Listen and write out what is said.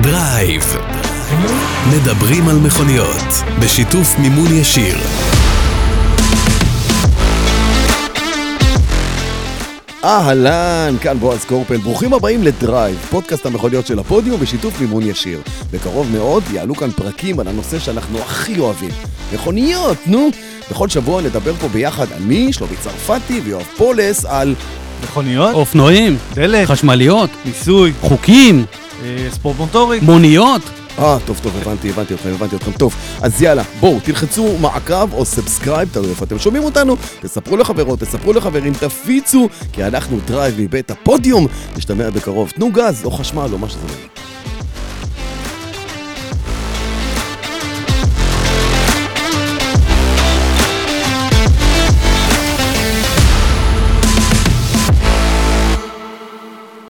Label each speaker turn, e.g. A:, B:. A: דרייב. מדברים על מכוניות, בשיתוף מימון ישיר.
B: אהלן, כאן בועז קורפל, ברוכים הבאים לדרייב, פודקאסט המכוניות של הפודיום בשיתוף מימון ישיר. בקרוב מאוד יעלו כאן פרקים על הנושא שאנחנו הכי אוהבים. מכוניות, נו! בכל שבוע נדבר פה ביחד אני, שלומי צרפתי ויואב פולס על...
C: מכוניות,
D: אופנועים,
C: דלק,
D: חשמליות,
C: ניסוי,
D: חוקים,
C: אה, ספורט מוטורי.
D: מוניות.
B: אה, טוב, טוב, הבנתי, הבנתי אתכם, הבנתי אתכם. טוב, אז יאללה, בואו, תלחצו מעקב או סאבסקרייב, תלוי איפה אתם שומעים אותנו, תספרו לחברות, תספרו לחברים, תפיצו, כי אנחנו דרייב מבית הפודיום, נשתמע בקרוב. תנו גז, או חשמל, או מה שזה לא יהיה.